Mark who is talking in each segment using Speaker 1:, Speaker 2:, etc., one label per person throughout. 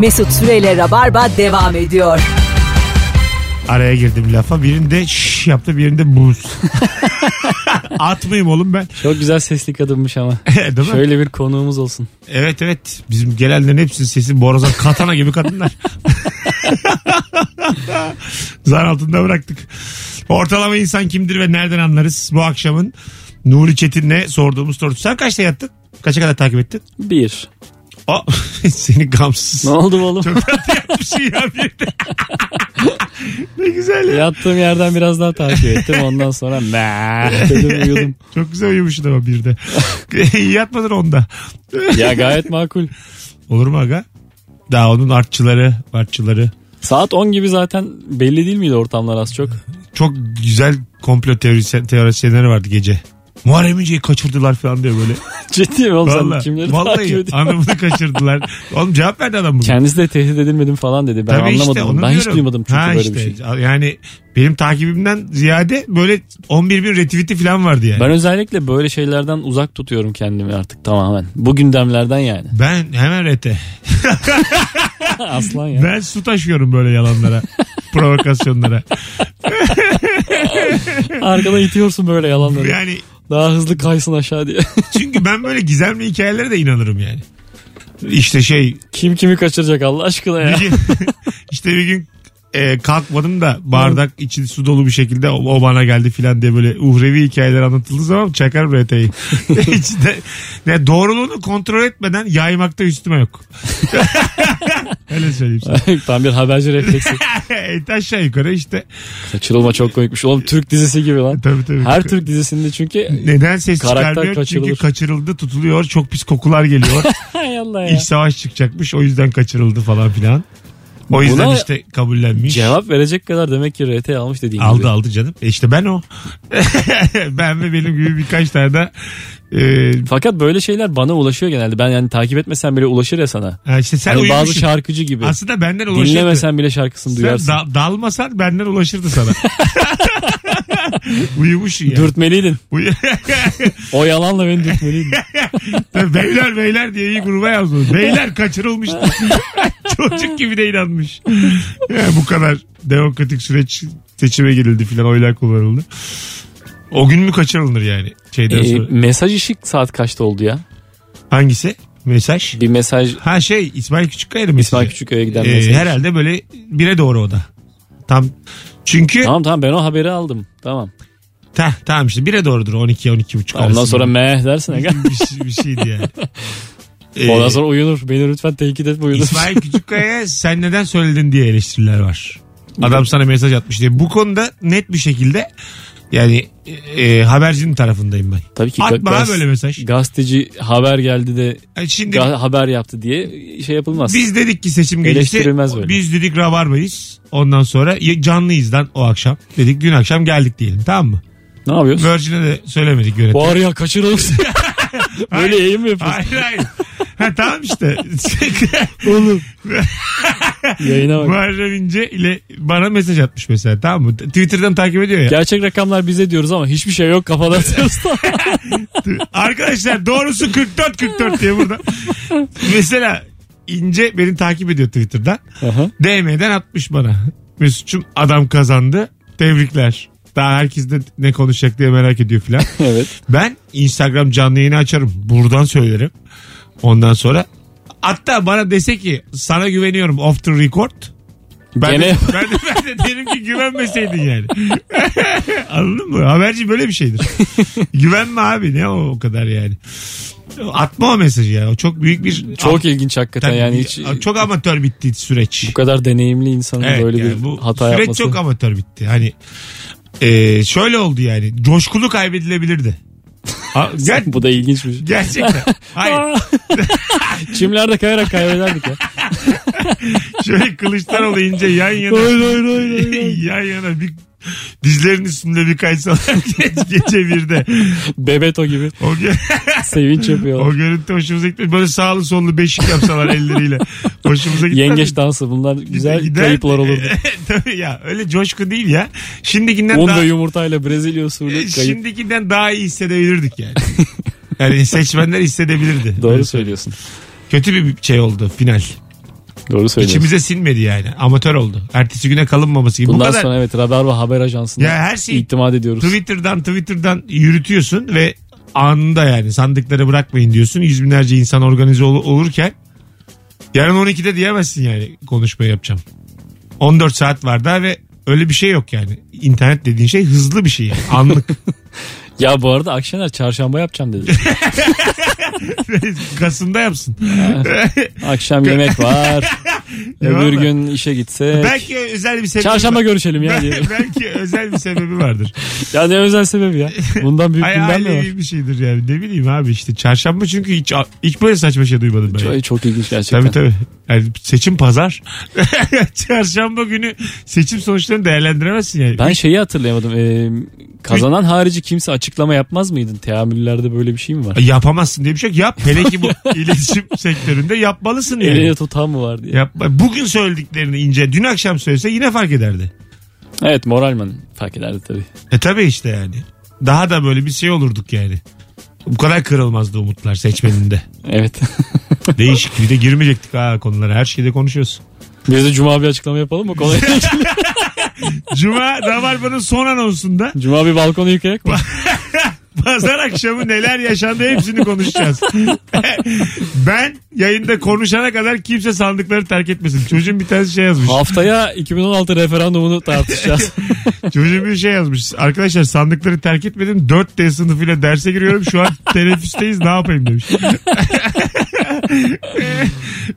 Speaker 1: Mesut Süreyle Rabarba devam ediyor.
Speaker 2: Araya girdim lafa. Birinde şş yaptı birinde buz. Atmayayım oğlum ben.
Speaker 3: Çok güzel sesli kadınmış ama.
Speaker 2: Değil mi?
Speaker 3: Şöyle bir konuğumuz olsun.
Speaker 2: Evet evet. Bizim gelenlerin hepsinin sesi borazan katana gibi kadınlar. Zar altında bıraktık. Ortalama insan kimdir ve nereden anlarız? Bu akşamın Nuri Çetin'le sorduğumuz soru. Sen kaçta yattın? Kaça kadar takip ettin?
Speaker 3: Bir.
Speaker 2: O seni gamsız.
Speaker 3: Ne oldu oğlum?
Speaker 2: Çok tatlı yapmışsın ya bir de. ne güzel ya.
Speaker 3: Yattığım yerden biraz daha takip ettim. Ondan sonra ne dedim uyudum.
Speaker 2: Çok güzel uyumuşsun ama bir de. Yatmadın onda.
Speaker 3: Ya gayet makul.
Speaker 2: Olur mu aga? Daha onun artçıları, artçıları.
Speaker 3: Saat 10 gibi zaten belli değil miydi ortamlar az çok?
Speaker 2: Çok güzel komplo teorisi, teorisyenleri vardı gece. Muharrem İnce'yi kaçırdılar falan diyor böyle.
Speaker 3: Ciddi mi oğlum sen
Speaker 2: Vallahi,
Speaker 3: kimleri takip
Speaker 2: vallahi
Speaker 3: ediyorsun?
Speaker 2: anlamını kaçırdılar. Oğlum cevap verdi adam bugün.
Speaker 3: Kendisi de tehdit edilmedim falan dedi. Ben anlamadım.
Speaker 2: onu
Speaker 3: ben hiç
Speaker 2: diyorum.
Speaker 3: duymadım çünkü
Speaker 2: Ha
Speaker 3: böyle
Speaker 2: işte.
Speaker 3: bir şey.
Speaker 2: Yani benim takibimden ziyade böyle 11 bin retweet'i falan vardı yani.
Speaker 3: Ben özellikle böyle şeylerden uzak tutuyorum kendimi artık tamamen. Bu gündemlerden yani.
Speaker 2: Ben hemen rete.
Speaker 3: Aslan ya.
Speaker 2: Ben su taşıyorum böyle yalanlara. provokasyonlara.
Speaker 3: Arkada itiyorsun böyle yalanları.
Speaker 2: Yani
Speaker 3: Daha hızlı kaysın aşağı diye.
Speaker 2: çünkü ben böyle gizemli hikayelere de inanırım yani. İşte şey
Speaker 3: Kim kimi kaçıracak Allah aşkına ya.
Speaker 2: bir gün, işte bir gün e, kalkmadım da bardak içi su dolu bir şekilde o, o bana geldi filan diye böyle uhrevi hikayeler anlatıldığı zaman çakar reteyi. Hiç de, ne doğruluğunu kontrol etmeden yaymakta üstüme yok. Öyle söyleyeyim sana.
Speaker 3: Tam bir haberci refleksi.
Speaker 2: Et aşağı yukarı işte.
Speaker 3: Kaçırılma çok komikmiş. Oğlum Türk dizisi gibi lan.
Speaker 2: Tabii tabii.
Speaker 3: Her Türk dizisinde çünkü
Speaker 2: Neden ses
Speaker 3: Karakter
Speaker 2: çıkarmıyor? Çünkü
Speaker 3: kaçırılır.
Speaker 2: kaçırıldı tutuluyor. Çok pis kokular geliyor.
Speaker 3: hay Allah ya.
Speaker 2: İç savaş çıkacakmış. O yüzden kaçırıldı falan filan. O yüzden
Speaker 3: Buna
Speaker 2: işte kabullenmiş.
Speaker 3: Cevap verecek kadar demek ki RT almış dediğin gibi.
Speaker 2: Aldı aldı canım. E işte ben o. ben ve benim gibi birkaç tane de e,
Speaker 3: Fakat böyle şeyler bana ulaşıyor genelde. Ben yani takip etmesem bile ulaşır ya sana.
Speaker 2: ha işte sen
Speaker 3: hani bazı
Speaker 2: uyumuşsun.
Speaker 3: şarkıcı gibi.
Speaker 2: Aslında benden ulaşırdı.
Speaker 3: Dinlemesen bile şarkısını
Speaker 2: sen
Speaker 3: duyarsın.
Speaker 2: da- dalmasan benden ulaşırdı sana. Uyumuşsun ya.
Speaker 3: Dürtmeliydin.
Speaker 2: Uyu-
Speaker 3: O yalanla beni dürtmeliydin.
Speaker 2: beyler beyler diye iyi gruba yazdım. Beyler kaçırılmıştı. Çocuk gibi de inanmış. Ya bu kadar demokratik süreç seçime girildi filan oylar kullanıldı. O gün mü kaçırılır yani şeyden
Speaker 3: Ee,
Speaker 2: sonra?
Speaker 3: mesaj ışık saat kaçta oldu ya?
Speaker 2: Hangisi? Mesaj.
Speaker 3: Bir mesaj
Speaker 2: Ha şey İsmail Küçükkaya mı?
Speaker 3: İsmail
Speaker 2: mesajı?
Speaker 3: Küçüköy'e giden
Speaker 2: Ee,
Speaker 3: mesaj.
Speaker 2: herhalde böyle bire doğru o da. Tam çünkü
Speaker 3: Tamam tamam ben o haberi aldım. Tamam.
Speaker 2: Tah, tamam işte bire doğrudur 12 12 buçuk
Speaker 3: Ondan
Speaker 2: arasında.
Speaker 3: sonra meh dersin. Aga.
Speaker 2: bir, şey- bir şeydi yani. Ee,
Speaker 3: Ondan sonra uyunur. Beni lütfen tehdit etme uyunur.
Speaker 2: İsmail Küçükkaya sen neden söyledin diye eleştiriler var. Adam sana mesaj atmış diye. Bu konuda net bir şekilde yani e, habercinin tarafındayım ben.
Speaker 3: Tabii ki.
Speaker 2: Atma
Speaker 3: ga-
Speaker 2: ha
Speaker 3: gaz-
Speaker 2: böyle mesaj.
Speaker 3: Gazeteci haber geldi de
Speaker 2: Yani E, şimdi
Speaker 3: ga- haber yaptı diye şey yapılmaz.
Speaker 2: biz dedik ki seçim gelişti.
Speaker 3: Eleştirilmez böyle.
Speaker 2: Biz dedik rabarbayız. Ondan sonra ya- canlıyız lan o akşam. Dedik dün akşam geldik diyelim tamam mı?
Speaker 3: Ne yapıyorsun?
Speaker 2: Virgin'e de söylemedik yönetim.
Speaker 3: Var ya kaçıralım. böyle yayın mı yapıyorsun?
Speaker 2: Hayır hayır. Ha tamam işte.
Speaker 3: Oğlum. Yayına bak.
Speaker 2: Muharrem İnce ile bana mesaj atmış mesela tamam mı? Twitter'dan takip ediyor ya.
Speaker 3: Gerçek rakamlar bize diyoruz ama hiçbir şey yok kafada atıyoruz da.
Speaker 2: Arkadaşlar doğrusu 44 44 diye burada. mesela İnce beni takip ediyor Twitter'dan.
Speaker 3: Aha.
Speaker 2: DM'den atmış bana. Mesut'cum adam kazandı. Tebrikler. Daha herkes de ne konuşacak diye merak ediyor filan.
Speaker 3: evet.
Speaker 2: Ben Instagram canlı yayını açarım. Buradan söylerim. Ondan sonra hatta bana dese ki sana güveniyorum off the record. Ben, de,
Speaker 3: Gene
Speaker 2: ben, de, ben de derim ki güvenmeseydin yani. Anladın mı? Haberci böyle bir şeydir. Güvenme abi ne o, o kadar yani. Atma o mesajı ya. O çok büyük bir...
Speaker 3: çok ilginç hakikaten
Speaker 2: Tabii,
Speaker 3: yani hiç
Speaker 2: Çok amatör bitti süreç.
Speaker 3: bu kadar deneyimli insanın
Speaker 2: Evet,
Speaker 3: Hani böyle
Speaker 2: yani
Speaker 3: bir
Speaker 2: bu
Speaker 3: hata
Speaker 2: süreç
Speaker 3: yapması.
Speaker 2: çok amatör bitti. Hani e, şöyle oldu yani. Coşkulu kaybedilebilirdi. Ha, ger-
Speaker 3: bu da ilginçmiş.
Speaker 2: gerçekten. Hayır.
Speaker 3: Çimlerde kayarak kaybederdik ya.
Speaker 2: Şöyle Kılıçdaroğlu ince yan yana. yan yana bir dizlerin üstünde bir kaysalar geç, gece birde.
Speaker 3: Bebeto gibi
Speaker 2: O, gö-
Speaker 3: sevinç
Speaker 2: o
Speaker 3: yapıyor.
Speaker 2: görüntü hoşumuza gitmedi. Böyle sağlı sollu beşik yapsalar elleriyle. Hoşumuza gitmedi.
Speaker 3: Yengeç dansı bunlar güzel
Speaker 2: Gider-
Speaker 3: kayıplar olurdu.
Speaker 2: Tabii ya öyle coşku değil ya. Şimdikinden
Speaker 3: Un
Speaker 2: daha... E,
Speaker 3: ve yumurtayla Brezilya usulü kayıp.
Speaker 2: Şimdikinden daha iyi hissedebilirdik yani. Yani seçmenler hissedebilirdi.
Speaker 3: Doğru
Speaker 2: Öyle
Speaker 3: söylüyorsun.
Speaker 2: Kötü bir şey oldu final.
Speaker 3: Doğru söylüyorsun.
Speaker 2: İçimize sinmedi yani. Amatör oldu. Ertesi güne kalınmaması gibi.
Speaker 3: Bundan
Speaker 2: Bu kadar.
Speaker 3: sonra evet Rabarba Haber Ajansı'na
Speaker 2: Ya her şey-
Speaker 3: itimat ediyoruz.
Speaker 2: Twitter'dan Twitter'dan yürütüyorsun ve anında yani sandıkları bırakmayın diyorsun. Yüz binlerce insan organize ol- olurken yarın 12'de diyemezsin yani konuşma yapacağım. 14 saat var daha ve öyle bir şey yok yani. İnternet dediğin şey hızlı bir şey yani. Anlık.
Speaker 3: Ya bu arada Akşener çarşamba yapacağım dedi.
Speaker 2: Kasım'da yapsın.
Speaker 3: Akşam yemek var.
Speaker 2: Devam
Speaker 3: Öbür
Speaker 2: ver.
Speaker 3: gün işe gitsek.
Speaker 2: Belki özel bir sebebi
Speaker 3: Çarşamba görüşelim ya diye.
Speaker 2: Bel- Belki özel bir sebebi vardır.
Speaker 3: ya ne özel sebebi ya. Bundan büyük
Speaker 2: Ay,
Speaker 3: gündem mi var?
Speaker 2: ailevi bir şeydir yani. Ne bileyim abi işte çarşamba çünkü hiç, hiç böyle saçma şey duymadım ben.
Speaker 3: Çok, çok ilginç gerçekten.
Speaker 2: Tabii tabii. Yani seçim pazar. Çarşamba günü seçim sonuçlarını değerlendiremezsin yani.
Speaker 3: Ben şeyi hatırlayamadım. Ee, kazanan harici kimse açıklama yapmaz mıydın? Teamüllerde böyle bir şey mi var?
Speaker 2: Yapamazsın diye bir şey yok. Yap. Hele ki bu iletişim sektöründe yapmalısın yani.
Speaker 3: Eline tutan mı var diye.
Speaker 2: Yapma. Bugün söylediklerini ince dün akşam söylese yine fark ederdi.
Speaker 3: Evet moralman fark ederdi tabii.
Speaker 2: E tabii işte yani. Daha da böyle bir şey olurduk yani. Bu kadar kırılmazdı umutlar seçmeninde.
Speaker 3: Evet.
Speaker 2: Değişik bir de girmeyecektik ha konulara. Her şeyde konuşuyoruz.
Speaker 3: Biz de Cuma bir açıklama yapalım mı? Kolay.
Speaker 2: Cuma Rabarba'nın son anonsunda
Speaker 3: Cuma bir balkonu yıkayak mı?
Speaker 2: Pazar akşamı neler yaşandı hepsini konuşacağız. ben yayında konuşana kadar kimse sandıkları terk etmesin. Çocuğun bir tanesi şey yazmış.
Speaker 3: Haftaya 2016 referandumunu tartışacağız.
Speaker 2: Çocuğun bir şey yazmış. Arkadaşlar sandıkları terk etmedim. 4D sınıfıyla derse giriyorum. Şu an teneffüsteyiz ne yapayım demiş.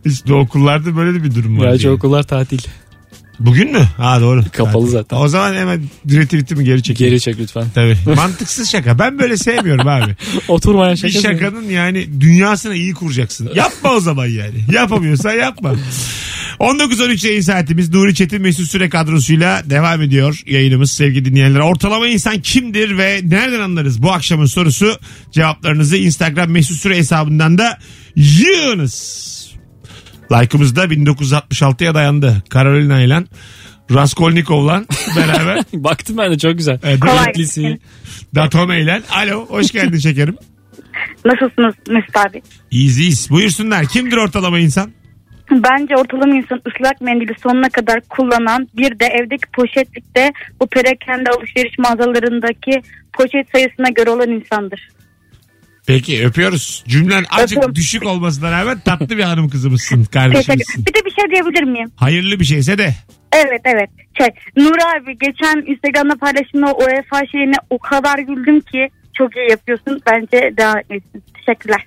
Speaker 2: işte okullarda böyle de bir durum var.
Speaker 3: Gerçi
Speaker 2: diye.
Speaker 3: okullar tatil.
Speaker 2: Bugün mü? Ha doğru.
Speaker 3: Kapalı zaten.
Speaker 2: O zaman hemen retweetimi geri çekeyim.
Speaker 3: Geri çek lütfen.
Speaker 2: Tabii. Mantıksız şaka. Ben böyle sevmiyorum abi.
Speaker 3: Oturmayan
Speaker 2: Bir
Speaker 3: şaka.
Speaker 2: şakanın yani dünyasını iyi kuracaksın. Yapma o zaman yani. Yapamıyorsan yapma. 19.13 yayın saatimiz Nuri Çetin Mesut Süre kadrosuyla devam ediyor yayınımız sevgili dinleyenler. Ortalama insan kimdir ve nereden anlarız bu akşamın sorusu? Cevaplarınızı Instagram Mesut Süre hesabından da yığınız. Like'ımız da 1966'ya dayandı. Carolina ile Raskolnikov'la beraber Ee,
Speaker 3: Baktım ben de çok güzel.
Speaker 2: Evet,
Speaker 4: Kolay
Speaker 3: Etlisi.
Speaker 4: gelsin.
Speaker 2: Datome ile. Alo hoş geldin şekerim.
Speaker 4: Nasılsınız Mesut abi?
Speaker 2: İyiyiz iyiyiz. Buyursunlar. Kimdir ortalama insan?
Speaker 4: Bence ortalama insan ıslak mendili sonuna kadar kullanan bir de evdeki poşetlikte bu perakende alışveriş mağazalarındaki poşet sayısına göre olan insandır.
Speaker 2: Peki öpüyoruz. Cümlen azıcık
Speaker 4: Öpüyorum.
Speaker 2: düşük olmasına rağmen tatlı bir hanım kızımızsın, kardeşimizsin.
Speaker 4: Teşekkür. Bir de bir şey diyebilir miyim?
Speaker 2: Hayırlı bir şeyse de.
Speaker 4: Evet evet. Şey, Nur abi geçen Instagram'da paylaştığın o UEFA şeyine o kadar güldüm ki çok iyi yapıyorsun. Bence devam etsin. Teşekkürler.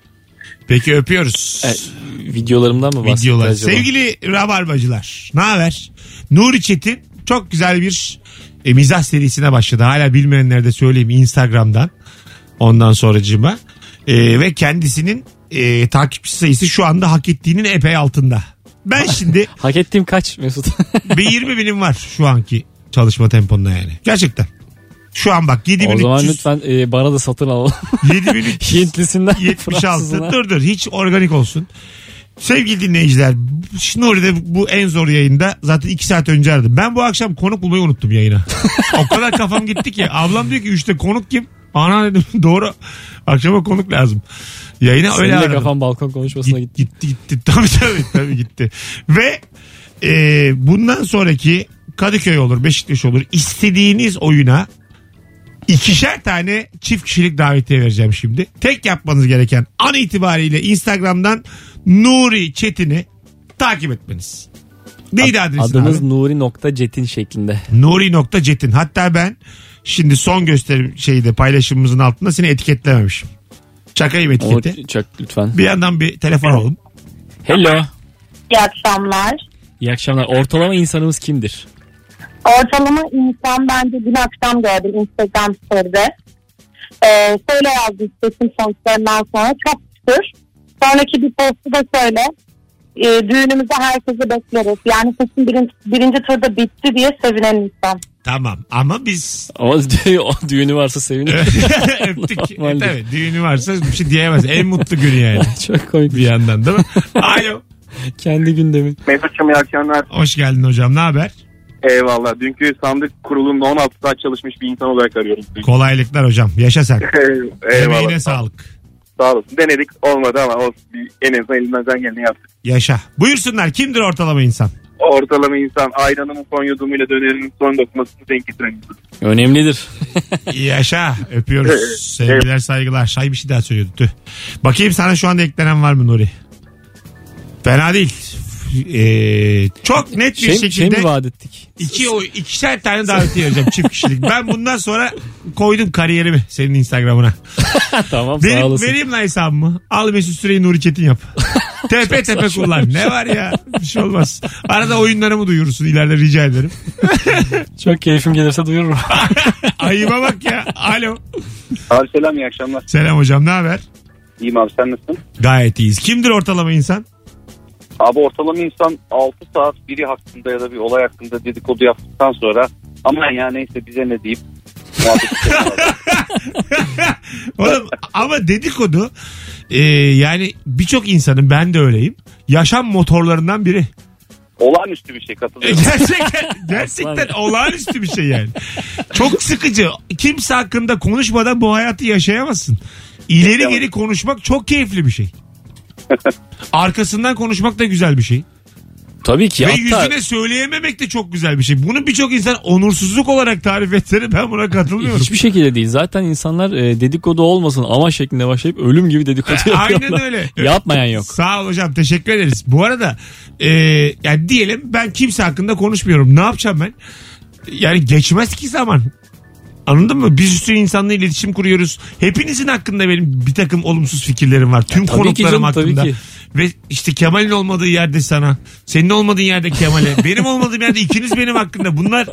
Speaker 2: Peki öpüyoruz.
Speaker 3: E, videolarımdan mı bahsetti
Speaker 2: Videolar.
Speaker 3: acaba?
Speaker 2: Sevgili Rabarbacılar ne haber? Nuri Çetin çok güzel bir e, mizah serisine başladı. Hala bilmeyenler de söyleyeyim Instagram'dan. Ondan sonracığıma. E, ve kendisinin e, takipçi sayısı şu anda hak ettiğinin epey altında. Ben şimdi
Speaker 3: Hak ettiğim kaç Mesut?
Speaker 2: Bir 20 binim var şu anki çalışma temponuna yani. Gerçekten. Şu an bak
Speaker 3: o zaman
Speaker 2: 7300
Speaker 3: lütfen e, bana da satın al.
Speaker 2: 7300
Speaker 3: Hintlisinden
Speaker 2: 76.
Speaker 3: Fransızına.
Speaker 2: Dur dur hiç organik olsun. Sevgili dinleyiciler Nuri'de bu en zor yayında zaten 2 saat önce aradım. Ben bu akşam konuk bulmayı unuttum yayına. o kadar kafam gitti ki ablam diyor ki 3'te konuk kim? Ana dedim doğru akşama konuk lazım. Yayına öyle
Speaker 3: Senin de
Speaker 2: aradım.
Speaker 3: kafan balkon konuşmasına
Speaker 2: Git-
Speaker 3: gitti.
Speaker 2: gitti. Gitti Tabii tabii tabii gitti. Ve e, bundan sonraki Kadıköy olur, Beşiktaş olur. İstediğiniz oyuna ikişer tane çift kişilik davetiye vereceğim şimdi. Tek yapmanız gereken an itibariyle Instagram'dan Nuri Çetin'i takip etmeniz. Neydi adresi?
Speaker 3: Adınız nuri.cetin şeklinde.
Speaker 2: Nuri.cetin. Hatta ben şimdi son gösterim şeyde paylaşımımızın altında seni etiketlememişim. Çakayım
Speaker 3: O
Speaker 2: etiketi.
Speaker 3: çak lütfen.
Speaker 2: Bir yandan bir telefon alalım.
Speaker 3: Hello.
Speaker 4: İyi akşamlar.
Speaker 3: İyi akşamlar. Ortalama insanımız kimdir?
Speaker 4: Ortalama insan bence dün akşam gördüm Instagram story'de. Ee, şöyle yazdım seçim sonuçlarından sonra çok şükür. Sonraki bir postu da söyle. Ee, düğünümüzü herkese bekleriz. Yani seçim birinci, birinci turda bitti diye sevinen insan.
Speaker 2: Tamam ama biz
Speaker 3: Ama o düğünü varsa sevinir.
Speaker 2: öptük.
Speaker 3: Normaldir.
Speaker 2: Tabii düğünü varsa bir şey diyemez. En mutlu günü yani
Speaker 3: Çok komik.
Speaker 2: bir yandan değil mi? Alo.
Speaker 3: Kendi gündemi.
Speaker 5: Mesut'cum iyi akşamlar.
Speaker 2: Hoş geldin hocam ne haber?
Speaker 5: Eyvallah. Dünkü sandık kurulumda 16 saat çalışmış bir insan olarak arıyorum.
Speaker 2: Kolaylıklar hocam yaşa sen.
Speaker 5: Eyvallah.
Speaker 2: Emeğine sağlık.
Speaker 5: Sağ olasın. Denedik olmadı ama olsun. Bir, en azından elimizden geleni yaptık.
Speaker 2: Yaşa. Buyursunlar kimdir ortalama insan?
Speaker 5: Ortalama insan ayranının son yudumuyla dönerinin son dokumasını denk getiren insan.
Speaker 3: Önemlidir.
Speaker 2: Yaşa. Öpüyoruz. Sevgiler saygılar. Şay bir şey daha söylüyordu. Tüh. Bakayım sana şu anda eklenen var mı Nuri? Fena değil. Ee, çok net bir
Speaker 3: Şey,
Speaker 2: şekilde
Speaker 3: şey mi vaat ettik?
Speaker 2: iki o ikişer tane davetiye vereceğim çift kişilik. Ben bundan sonra koydum kariyerimi senin Instagram'ına.
Speaker 3: tamam sağ
Speaker 2: Benim,
Speaker 3: olasın.
Speaker 2: vereyim lan hesabımı. Al Mesut Süreyi Nuri Çetin yap. tepe tepe kullan. Ne var ya? Bir şey olmaz. Arada oyunlarımı duyurursun. İleride rica ederim.
Speaker 3: Çok keyfim gelirse duyururum.
Speaker 2: Ayıba bak ya. Alo.
Speaker 5: Abi selam iyi akşamlar.
Speaker 2: Selam hocam ne haber?
Speaker 5: İyiyim abi sen nasılsın?
Speaker 2: Gayet iyiyiz. Kimdir ortalama insan?
Speaker 5: Abi ortalama insan 6 saat biri hakkında ya da bir olay hakkında dedikodu yaptıktan sonra aman ya neyse bize ne deyip muhabbet ediyorlar.
Speaker 2: Oğlum ama dedikodu e, yani birçok insanın ben de öyleyim. Yaşam motorlarından biri.
Speaker 5: Olağanüstü bir şey
Speaker 2: E,
Speaker 5: katılıyorum.
Speaker 2: gerçekten gerçekten olağanüstü bir şey yani. Çok sıkıcı. Kimse hakkında konuşmadan bu hayatı yaşayamazsın. İleri geri konuşmak çok keyifli bir şey. Arkasından konuşmak da güzel bir şey.
Speaker 3: Tabii ki.
Speaker 2: Ve
Speaker 3: hatta
Speaker 2: yüzüne söyleyememek de çok güzel bir şey. Bunu birçok insan onursuzluk olarak tarif etsene ben buna katılmıyorum.
Speaker 3: hiçbir şekilde değil. Zaten insanlar e, dedikodu olmasın ama şeklinde başlayıp ölüm gibi dedikodu yapıyorlar.
Speaker 2: Aynen öyle.
Speaker 3: Yapmayan yok.
Speaker 2: Sağ ol hocam teşekkür ederiz. Bu arada e, yani diyelim ben kimse hakkında konuşmuyorum. Ne yapacağım ben? Yani geçmez ki zaman. Anladın mı? Biz üstü insanla iletişim kuruyoruz. Hepinizin hakkında benim bir takım olumsuz fikirlerim var. Tüm
Speaker 3: tabii ki
Speaker 2: konuklarım
Speaker 3: canım, tabii
Speaker 2: hakkında.
Speaker 3: ki.
Speaker 2: Ve işte Kemal'in olmadığı yerde sana. Senin olmadığın yerde Kemal'e. benim olmadığım yerde ikiniz benim hakkında. Bunlar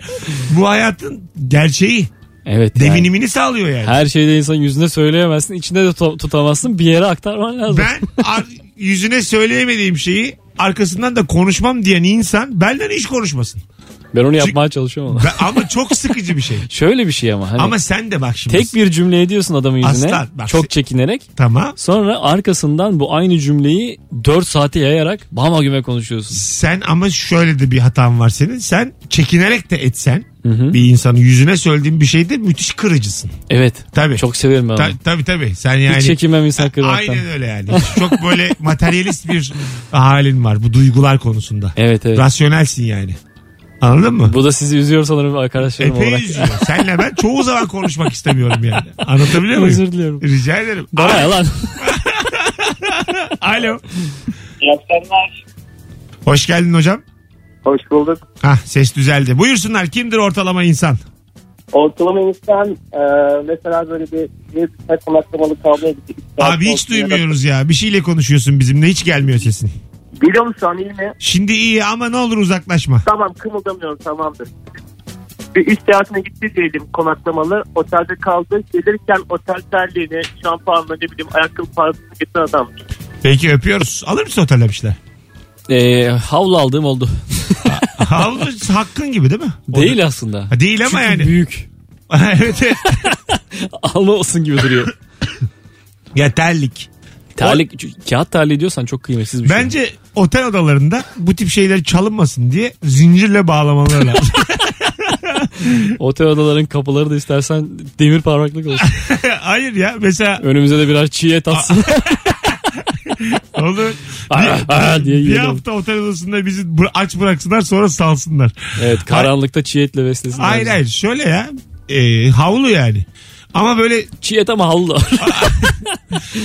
Speaker 2: bu hayatın gerçeği.
Speaker 3: Evet. yani.
Speaker 2: Devinimini sağlıyor yani.
Speaker 3: Her şeyde insan yüzüne söyleyemezsin. içinde de tu- tutamazsın. Bir yere aktarman lazım.
Speaker 2: Ben ar- yüzüne söyleyemediğim şeyi arkasından da konuşmam diyen insan benden hiç konuşmasın.
Speaker 3: Ben onu yapmaya çalışıyorum ama.
Speaker 2: Ben- ama çok sıkıcı bir şey.
Speaker 3: Şöyle bir şey ama. Hani
Speaker 2: Ama sen de bak şimdi.
Speaker 3: tek bir cümle ediyorsun adamın yüzüne.
Speaker 2: Aslan, bak-
Speaker 3: çok çekinerek.
Speaker 2: Tamam.
Speaker 3: Sonra arkasından bu aynı cümleyi 4 saate yayarak bama güme konuşuyorsun.
Speaker 2: Sen ama şöyle de bir hatan var senin. Sen çekinerek de etsen bir insanın yüzüne söylediğin bir şeyde müthiş kırıcısın.
Speaker 3: Evet.
Speaker 2: Tabii.
Speaker 3: Çok severim ben onu.
Speaker 2: Ta- tabii tabii. Sen yani.
Speaker 3: Hiç çekinmem insan kırmaktan.
Speaker 2: Aynen öyle yani. Çok böyle materyalist bir halin var bu duygular konusunda.
Speaker 3: Evet evet.
Speaker 2: Rasyonelsin yani. Anladın mı?
Speaker 3: Bu da sizi üzüyor sanırım arkadaşlarım
Speaker 2: Epey
Speaker 3: olarak.
Speaker 2: üzüyor. Senle ben çoğu zaman konuşmak istemiyorum yani. Anlatabiliyor muyum?
Speaker 3: Özür diliyorum.
Speaker 2: Rica ederim.
Speaker 3: Bana ya lan.
Speaker 2: Alo. Hoş geldin hocam.
Speaker 6: Hoş bulduk.
Speaker 2: Hah ses düzeldi. Buyursunlar kimdir ortalama insan?
Speaker 6: Ortalama insan e, mesela böyle bir bir saç konaklamalı kavgaya gittik.
Speaker 2: Abi hiç duymuyoruz ya. Bir şeyle konuşuyorsun bizimle hiç gelmiyor sesin.
Speaker 6: Biliyor musun şu an iyi mi?
Speaker 2: Şimdi iyi ama ne olur uzaklaşma.
Speaker 6: Tamam kımıldamıyorum tamamdır. Bir iş seyahatine gitti diyelim konaklamalı. Otelde kaldı. Gelirken otel terliğini, şampuanla ne bileyim ayakkabı parasını getiren adam.
Speaker 2: Peki öpüyoruz. Alır mısın otelde bir şeyler?
Speaker 3: Ee, havlu aldığım oldu.
Speaker 2: Havlu hakkın gibi değil mi? O da-
Speaker 3: Değil aslında.
Speaker 2: Ha, değil ama
Speaker 3: Çünkü
Speaker 2: yani.
Speaker 3: büyük.
Speaker 2: evet, evet.
Speaker 3: Alma olsun gibi duruyor.
Speaker 2: Ya terlik.
Speaker 3: Terlik, kağıt terliği diyorsan çok kıymetsiz bir şey.
Speaker 2: Bence otel odalarında bu tip şeyler çalınmasın diye zincirle bağlamaları lazım.
Speaker 3: Otel odaların kapıları da istersen demir parmaklık olsun.
Speaker 2: Hayır ya mesela
Speaker 3: Önümüze de birer çiğ et atsın.
Speaker 2: Olur.
Speaker 3: Aa,
Speaker 2: bir,
Speaker 3: aa diye
Speaker 2: bir
Speaker 3: yiyelim.
Speaker 2: hafta otel odasında bizi bıra- aç bıraksınlar sonra salsınlar.
Speaker 3: evet karanlıkta çiğ etle beslesin.
Speaker 2: Hayır hayır şöyle ya. E, havlu yani. Ama böyle
Speaker 3: Çiğ et ama havlu.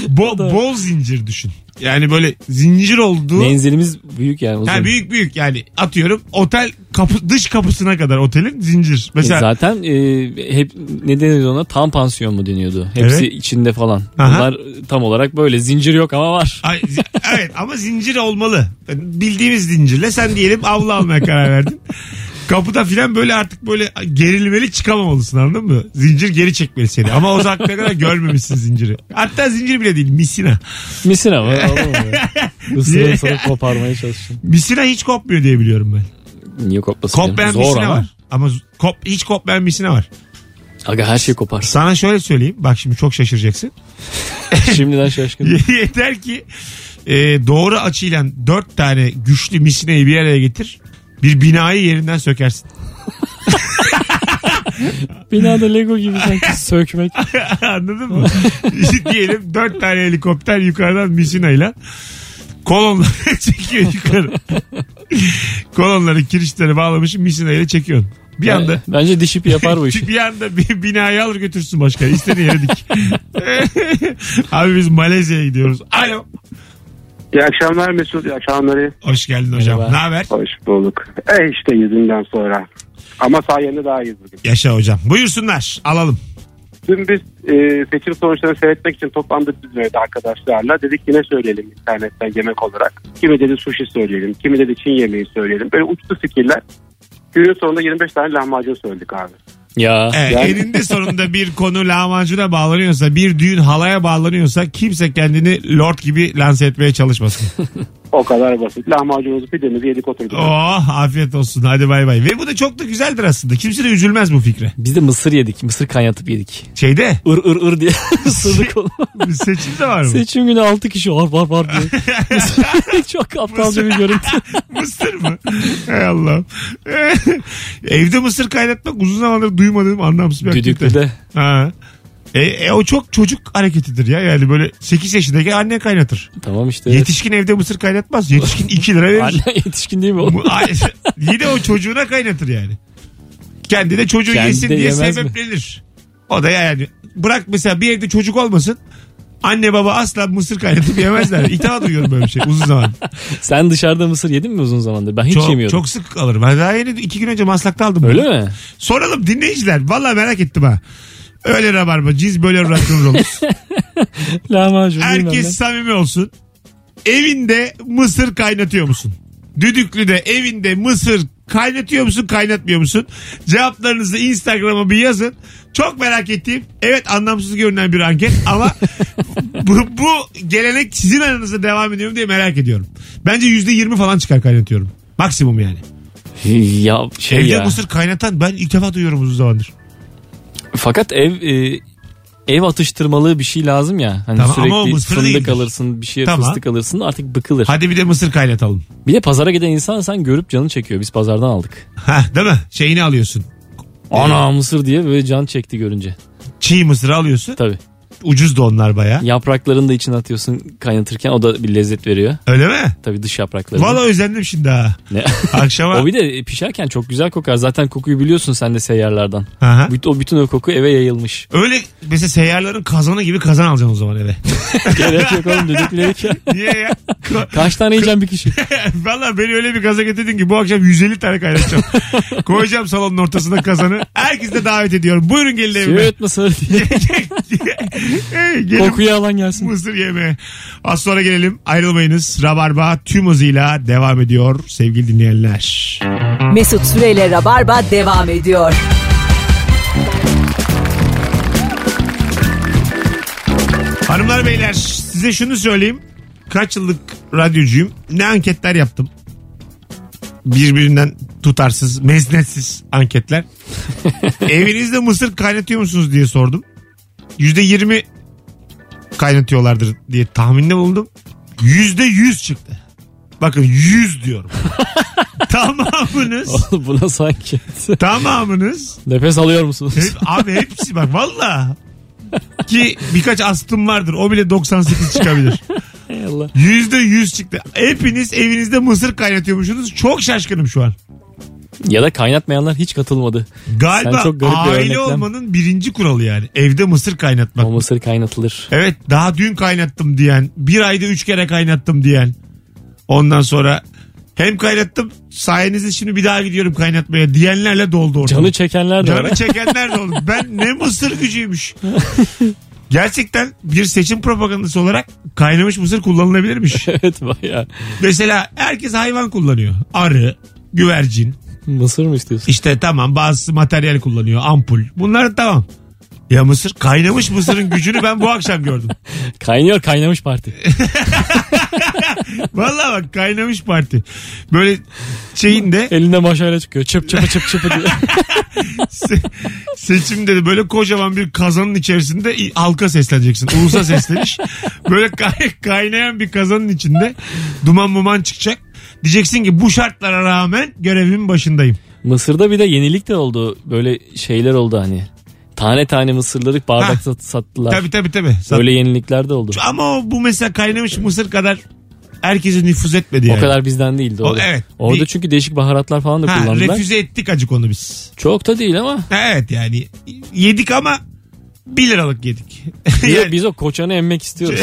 Speaker 2: bo- bol zincir düşün. Yani böyle zincir olduğu.
Speaker 3: Menzilimiz büyük yani. Uzun.
Speaker 2: Ha, büyük büyük yani atıyorum otel kapı dış kapısına kadar otelin zincir.
Speaker 3: E,
Speaker 2: Mesela
Speaker 3: Zaten e, hep ne deniyordu ona tam pansiyon mu deniyordu. Hepsi
Speaker 2: Evet.
Speaker 3: içinde falan.
Speaker 2: Aha.
Speaker 3: Bunlar e, tam olarak böyle zincir yok ama var.
Speaker 2: Ay, zi- evet ama zincir olmalı. Bildiğimiz zincirle sen diyelim avlu almaya karar verdin. Kapıda filan böyle artık böyle gerilmeli çıkamamalısın anladın mı? Zincir geri çekmeli seni. Ama o zamanlara kadar görmemişsin zinciri. Hatta zincir bile değil misina.
Speaker 3: Misin ama. Isırıp ısırıp koparmaya çalıştım.
Speaker 2: Misina hiç kopmuyor diye biliyorum ben.
Speaker 3: Niye kopmasın? canım?
Speaker 2: Kopmayan
Speaker 3: Zor
Speaker 2: misina
Speaker 3: ama.
Speaker 2: var. Ama z- kop, hiç kopmayan misina var.
Speaker 3: Aga her şey koparsın.
Speaker 2: Sana şöyle söyleyeyim. Bak şimdi çok şaşıracaksın.
Speaker 3: Şimdiden şaşkın.
Speaker 2: Yeter ki e, doğru açıyla dört tane güçlü misineyi bir araya getir. Bir binayı yerinden sökersin.
Speaker 3: Binada Lego gibi sanki sökmek.
Speaker 2: Anladın mı? Diyelim dört tane helikopter yukarıdan misinayla kolonları çekiyor yukarı. Kolonları kirişleri bağlamışım misinayla çekiyorsun. Bir anda
Speaker 3: E, Bence dişip yapar bu işi.
Speaker 2: bir anda bir binayı alır götürsün başka. İstediğin yere dik. Abi biz Malezya'ya gidiyoruz. Alo.
Speaker 7: İyi akşamlar Mesut, iyi akşamları.
Speaker 2: Hoş geldin hocam. Ne
Speaker 3: Merhaba.
Speaker 2: haber?
Speaker 7: Hoş bulduk. E işte yüzünden sonra. Ama sayende daha iyiyiz bugün.
Speaker 2: Yaşa hocam. Buyursunlar. Alalım.
Speaker 7: Dün biz e, seçim sonuçlarını seyretmek için toplandık biz böyle arkadaşlarla. Dedik ki ne söyleyelim internetten yemek olarak. Kimi dedi sushi söyleyelim, kimi dedi Çin yemeği söyleyelim. Böyle uçtu fikirler. Günün sonunda 25 tane lahmacun söyledik abi.
Speaker 3: Ya.
Speaker 2: Evet,
Speaker 7: Yani-
Speaker 2: Eninde sonunda bir konu lahmacuna bağlanıyorsa, bir düğün halaya bağlanıyorsa kimse kendini lord gibi lanse etmeye çalışmasın.
Speaker 7: O kadar basit. Lahmacununuzu pidemizi yedik oturduk.
Speaker 2: Oh afiyet olsun hadi bay bay. Ve bu da çok da güzeldir aslında. Kimse de üzülmez bu fikre.
Speaker 3: Biz de mısır yedik. Mısır kaynatıp yedik.
Speaker 2: Şeyde
Speaker 3: Ir ır ır diye ısırdık onu.
Speaker 2: seçim de var mı?
Speaker 3: Seçim günü 6 kişi var var var diye. Çok aptalca bir görüntü.
Speaker 2: mısır mı? Hay Allah. Evde mısır kaynatmak uzun zamandır duymadığım anlamsız bir aktivite.
Speaker 3: Düdüklü de.
Speaker 2: Ha. E, e, o çok çocuk hareketidir ya. Yani böyle 8 yaşındaki anne kaynatır.
Speaker 3: Tamam işte.
Speaker 2: Yetişkin evde mısır kaynatmaz. Yetişkin 2 lira verir.
Speaker 3: Anne yetişkin değil mi oğlum?
Speaker 2: Bu- Ay, Yine o çocuğuna kaynatır yani. Kendi de çocuğu
Speaker 3: Kendi
Speaker 2: yesin
Speaker 3: de
Speaker 2: diye
Speaker 3: yemez mi?
Speaker 2: sebeplenir. O da yani bırak mesela bir evde çocuk olmasın. Anne baba asla mısır kaynatıp yemezler. İtaat duyuyorum böyle bir şey uzun zaman.
Speaker 3: Sen dışarıda mısır yedin mi uzun zamandır? Ben hiç
Speaker 2: Çok,
Speaker 3: yemiyordum.
Speaker 2: çok sık alırım. Ben daha yeni iki gün önce maslakta aldım.
Speaker 3: Öyle
Speaker 2: bunu.
Speaker 3: mi?
Speaker 2: Soralım dinleyiciler. Vallahi merak ettim ha. Öyle rabarba. Ciz böyle rock'n'roll'uz.
Speaker 3: Lahmacun bilmem ne.
Speaker 2: Herkes samimi olsun. Evinde mısır kaynatıyor musun? Düdüklü'de evinde mısır kaynatıyor musun kaynatmıyor musun? Cevaplarınızı Instagram'a bir yazın. Çok merak ettiğim evet anlamsız görünen bir anket ama bu, bu gelenek sizin aranızda devam ediyor mu diye merak ediyorum. Bence %20 falan çıkar kaynatıyorum. Maksimum yani.
Speaker 3: Ya şey
Speaker 2: Evde
Speaker 3: ya.
Speaker 2: mısır kaynatan ben ilk defa duyuyorum uzun zamandır.
Speaker 3: Fakat ev e, ev atıştırmalığı bir şey lazım ya. Hani
Speaker 2: Tamam, ama o
Speaker 3: sürekli
Speaker 2: mısır
Speaker 3: fındık
Speaker 2: değildir.
Speaker 3: alırsın, bir şey
Speaker 2: Tamam.
Speaker 3: fıstık alırsın artık bıkılır.
Speaker 2: Hadi bir de mısır kaynatalım.
Speaker 3: Bir de pazara giden insan sen görüp canı çekiyor. Biz pazardan aldık.
Speaker 2: Heh, değil mi? Şeyini alıyorsun. Ee?
Speaker 3: Ana mısır diye böyle can çekti görünce.
Speaker 2: Çiğ mısırı alıyorsun.
Speaker 3: Tabii.
Speaker 2: Ucuz da onlar baya.
Speaker 3: Yapraklarını da içine atıyorsun kaynatırken o da bir lezzet veriyor.
Speaker 2: Öyle mi?
Speaker 3: Tabii dış yaprakları.
Speaker 2: Valla özendim şimdi ha.
Speaker 3: Ne?
Speaker 2: Akşama.
Speaker 3: o bir de pişerken çok güzel kokar. Zaten kokuyu biliyorsun sen de seyyarlardan.
Speaker 2: Aha.
Speaker 3: Büt- O bütün o koku eve yayılmış.
Speaker 2: Öyle mesela seyyarların kazanı gibi kazan alacaksın o zaman eve.
Speaker 3: Gerek yok oğlum düdükledik ya.
Speaker 2: Niye ya?
Speaker 3: Kaç tane yiyeceğim bir kişi?
Speaker 2: Valla beni öyle bir gaza getirdin ki bu akşam 150 tane kaynatacağım. Koyacağım salonun ortasına kazanı. Herkes de davet ediyorum. Buyurun gelin evime.
Speaker 3: Süt mısır diye.
Speaker 2: Hey, gelin
Speaker 3: Kokuyu alan gelsin.
Speaker 2: mısır yeme. Az sonra gelelim. Ayrılmayınız. Rabarba tüm hızıyla devam ediyor sevgili dinleyenler.
Speaker 1: Mesut Süreyle Rabarba devam ediyor.
Speaker 2: Hanımlar beyler size şunu söyleyeyim. Kaç yıllık radyocuyum. Ne anketler yaptım. Birbirinden tutarsız, meznetsiz anketler. Evinizde mısır kaynatıyor musunuz diye sordum. Yüzde yirmi kaynatıyorlardır diye tahminde bulundum. Yüzde yüz çıktı. Bakın yüz diyorum. tamamınız,
Speaker 3: Oğlum buna sanki.
Speaker 2: tamamınız
Speaker 3: Nefes alıyor musunuz?
Speaker 2: hep, abi hepsi bak valla. Ki birkaç astım vardır. O bile 98 çıkabilir.
Speaker 3: Hay Allah.
Speaker 2: Yüzde yüz çıktı. Hepiniz evinizde mısır kaynatıyormuşsunuz. Çok şaşkınım şu an.
Speaker 3: Ya da kaynatmayanlar hiç katılmadı.
Speaker 2: Galiba
Speaker 3: Sen çok garip bir
Speaker 2: aile
Speaker 3: örneklem.
Speaker 2: olmanın birinci kuralı yani. Evde mısır kaynatmak.
Speaker 3: O mısır kaynatılır.
Speaker 2: Evet daha dün kaynattım diyen. Bir ayda üç kere kaynattım diyen. Ondan sonra hem kaynattım sayenizde şimdi bir daha gidiyorum kaynatmaya diyenlerle doldu ortalık.
Speaker 3: Canı çekenler de var.
Speaker 2: Canı çekenler de oldu. Ben ne mısır gücüymüş. Gerçekten bir seçim propagandası olarak kaynamış mısır kullanılabilirmiş.
Speaker 3: evet baya.
Speaker 2: Mesela herkes hayvan kullanıyor. Arı, güvercin.
Speaker 3: Mısır mı istiyorsun?
Speaker 2: İşte tamam bazısı materyal kullanıyor. Ampul. Bunlar tamam. Ya mısır kaynamış mısırın gücünü ben bu akşam gördüm.
Speaker 3: Kaynıyor kaynamış parti.
Speaker 2: Vallahi bak kaynamış parti. Böyle şeyin de
Speaker 3: Elinde maşayla çıkıyor. Çıp çıpı çıp çıpı diyor.
Speaker 2: se- seçimde de böyle kocaman bir kazanın içerisinde i- halka sesleneceksin. Ulusa sesleniş. Böyle kay- kaynayan bir kazanın içinde duman muman çıkacak. Diyeceksin ki bu şartlara rağmen görevimin başındayım.
Speaker 3: Mısır'da bir de yenilik de oldu. Böyle şeyler oldu hani. Tane tane mısırları bardakta sattılar.
Speaker 2: Tabii tabii tabii. Sat-
Speaker 3: Böyle yenilikler de oldu.
Speaker 2: Ama o- bu mesela kaynamış mısır kadar herkese nüfuz etmedi yani.
Speaker 3: O kadar bizden değil doğru.
Speaker 2: O- evet.
Speaker 3: Orada
Speaker 2: Bir-
Speaker 3: çünkü değişik baharatlar falan da
Speaker 2: Ha,
Speaker 3: kullandılar.
Speaker 2: refüze ettik acık onu biz.
Speaker 3: Çok da değil ama
Speaker 2: Evet yani yedik ama 1 liralık yedik.
Speaker 3: biz,
Speaker 2: Yani-
Speaker 3: biz o koçanı emmek istiyoruz.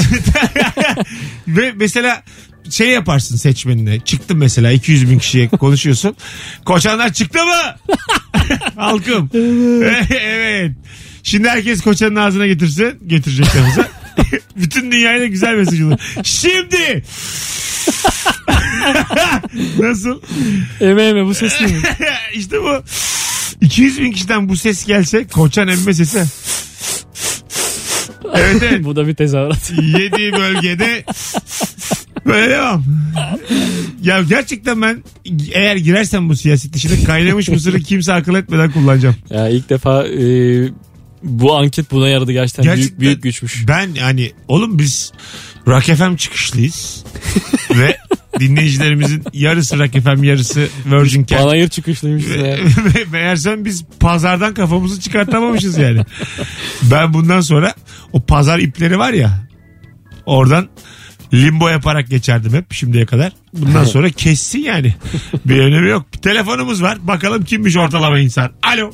Speaker 2: Ve mesela şey yaparsın seçmenine. Çıktın mesela 200 bin kişiye konuşuyorsun. Koçanlar çıktı mı? Halkım. evet. Şimdi herkes koçanın ağzına getirsin. Getirecek bize. Bütün dünyaya da güzel mesaj olur. Şimdi. Nasıl?
Speaker 3: eme eme bu ses mi?
Speaker 2: işte bu. 200 bin kişiden bu ses gelse koçan emme sesi. evet evet.
Speaker 3: bu da bir tezahürat.
Speaker 2: yediği bölgede böyle devam. Ya gerçekten ben eğer girersem bu siyaset işine kaynamış mısırı kimse akıl etmeden kullanacağım.
Speaker 3: ya ilk defa e, bu anket buna yaradı gerçekten.
Speaker 2: Gerçekten.
Speaker 3: Büyük büyük güçmüş.
Speaker 2: Ben hani oğlum biz Rock FM çıkışlıyız ve dinleyicilerimizin yarısı Rock FM yarısı Virgin Cat.
Speaker 3: Panayır çıkışlıymış. ya.
Speaker 2: Me- Meğersem biz pazardan kafamızı çıkartamamışız yani. Ben bundan sonra o pazar ipleri var ya oradan limbo yaparak geçerdim hep şimdiye kadar. Bundan sonra kessin yani. Bir önemi yok. Bir telefonumuz var. Bakalım kimmiş ortalama insan. Alo.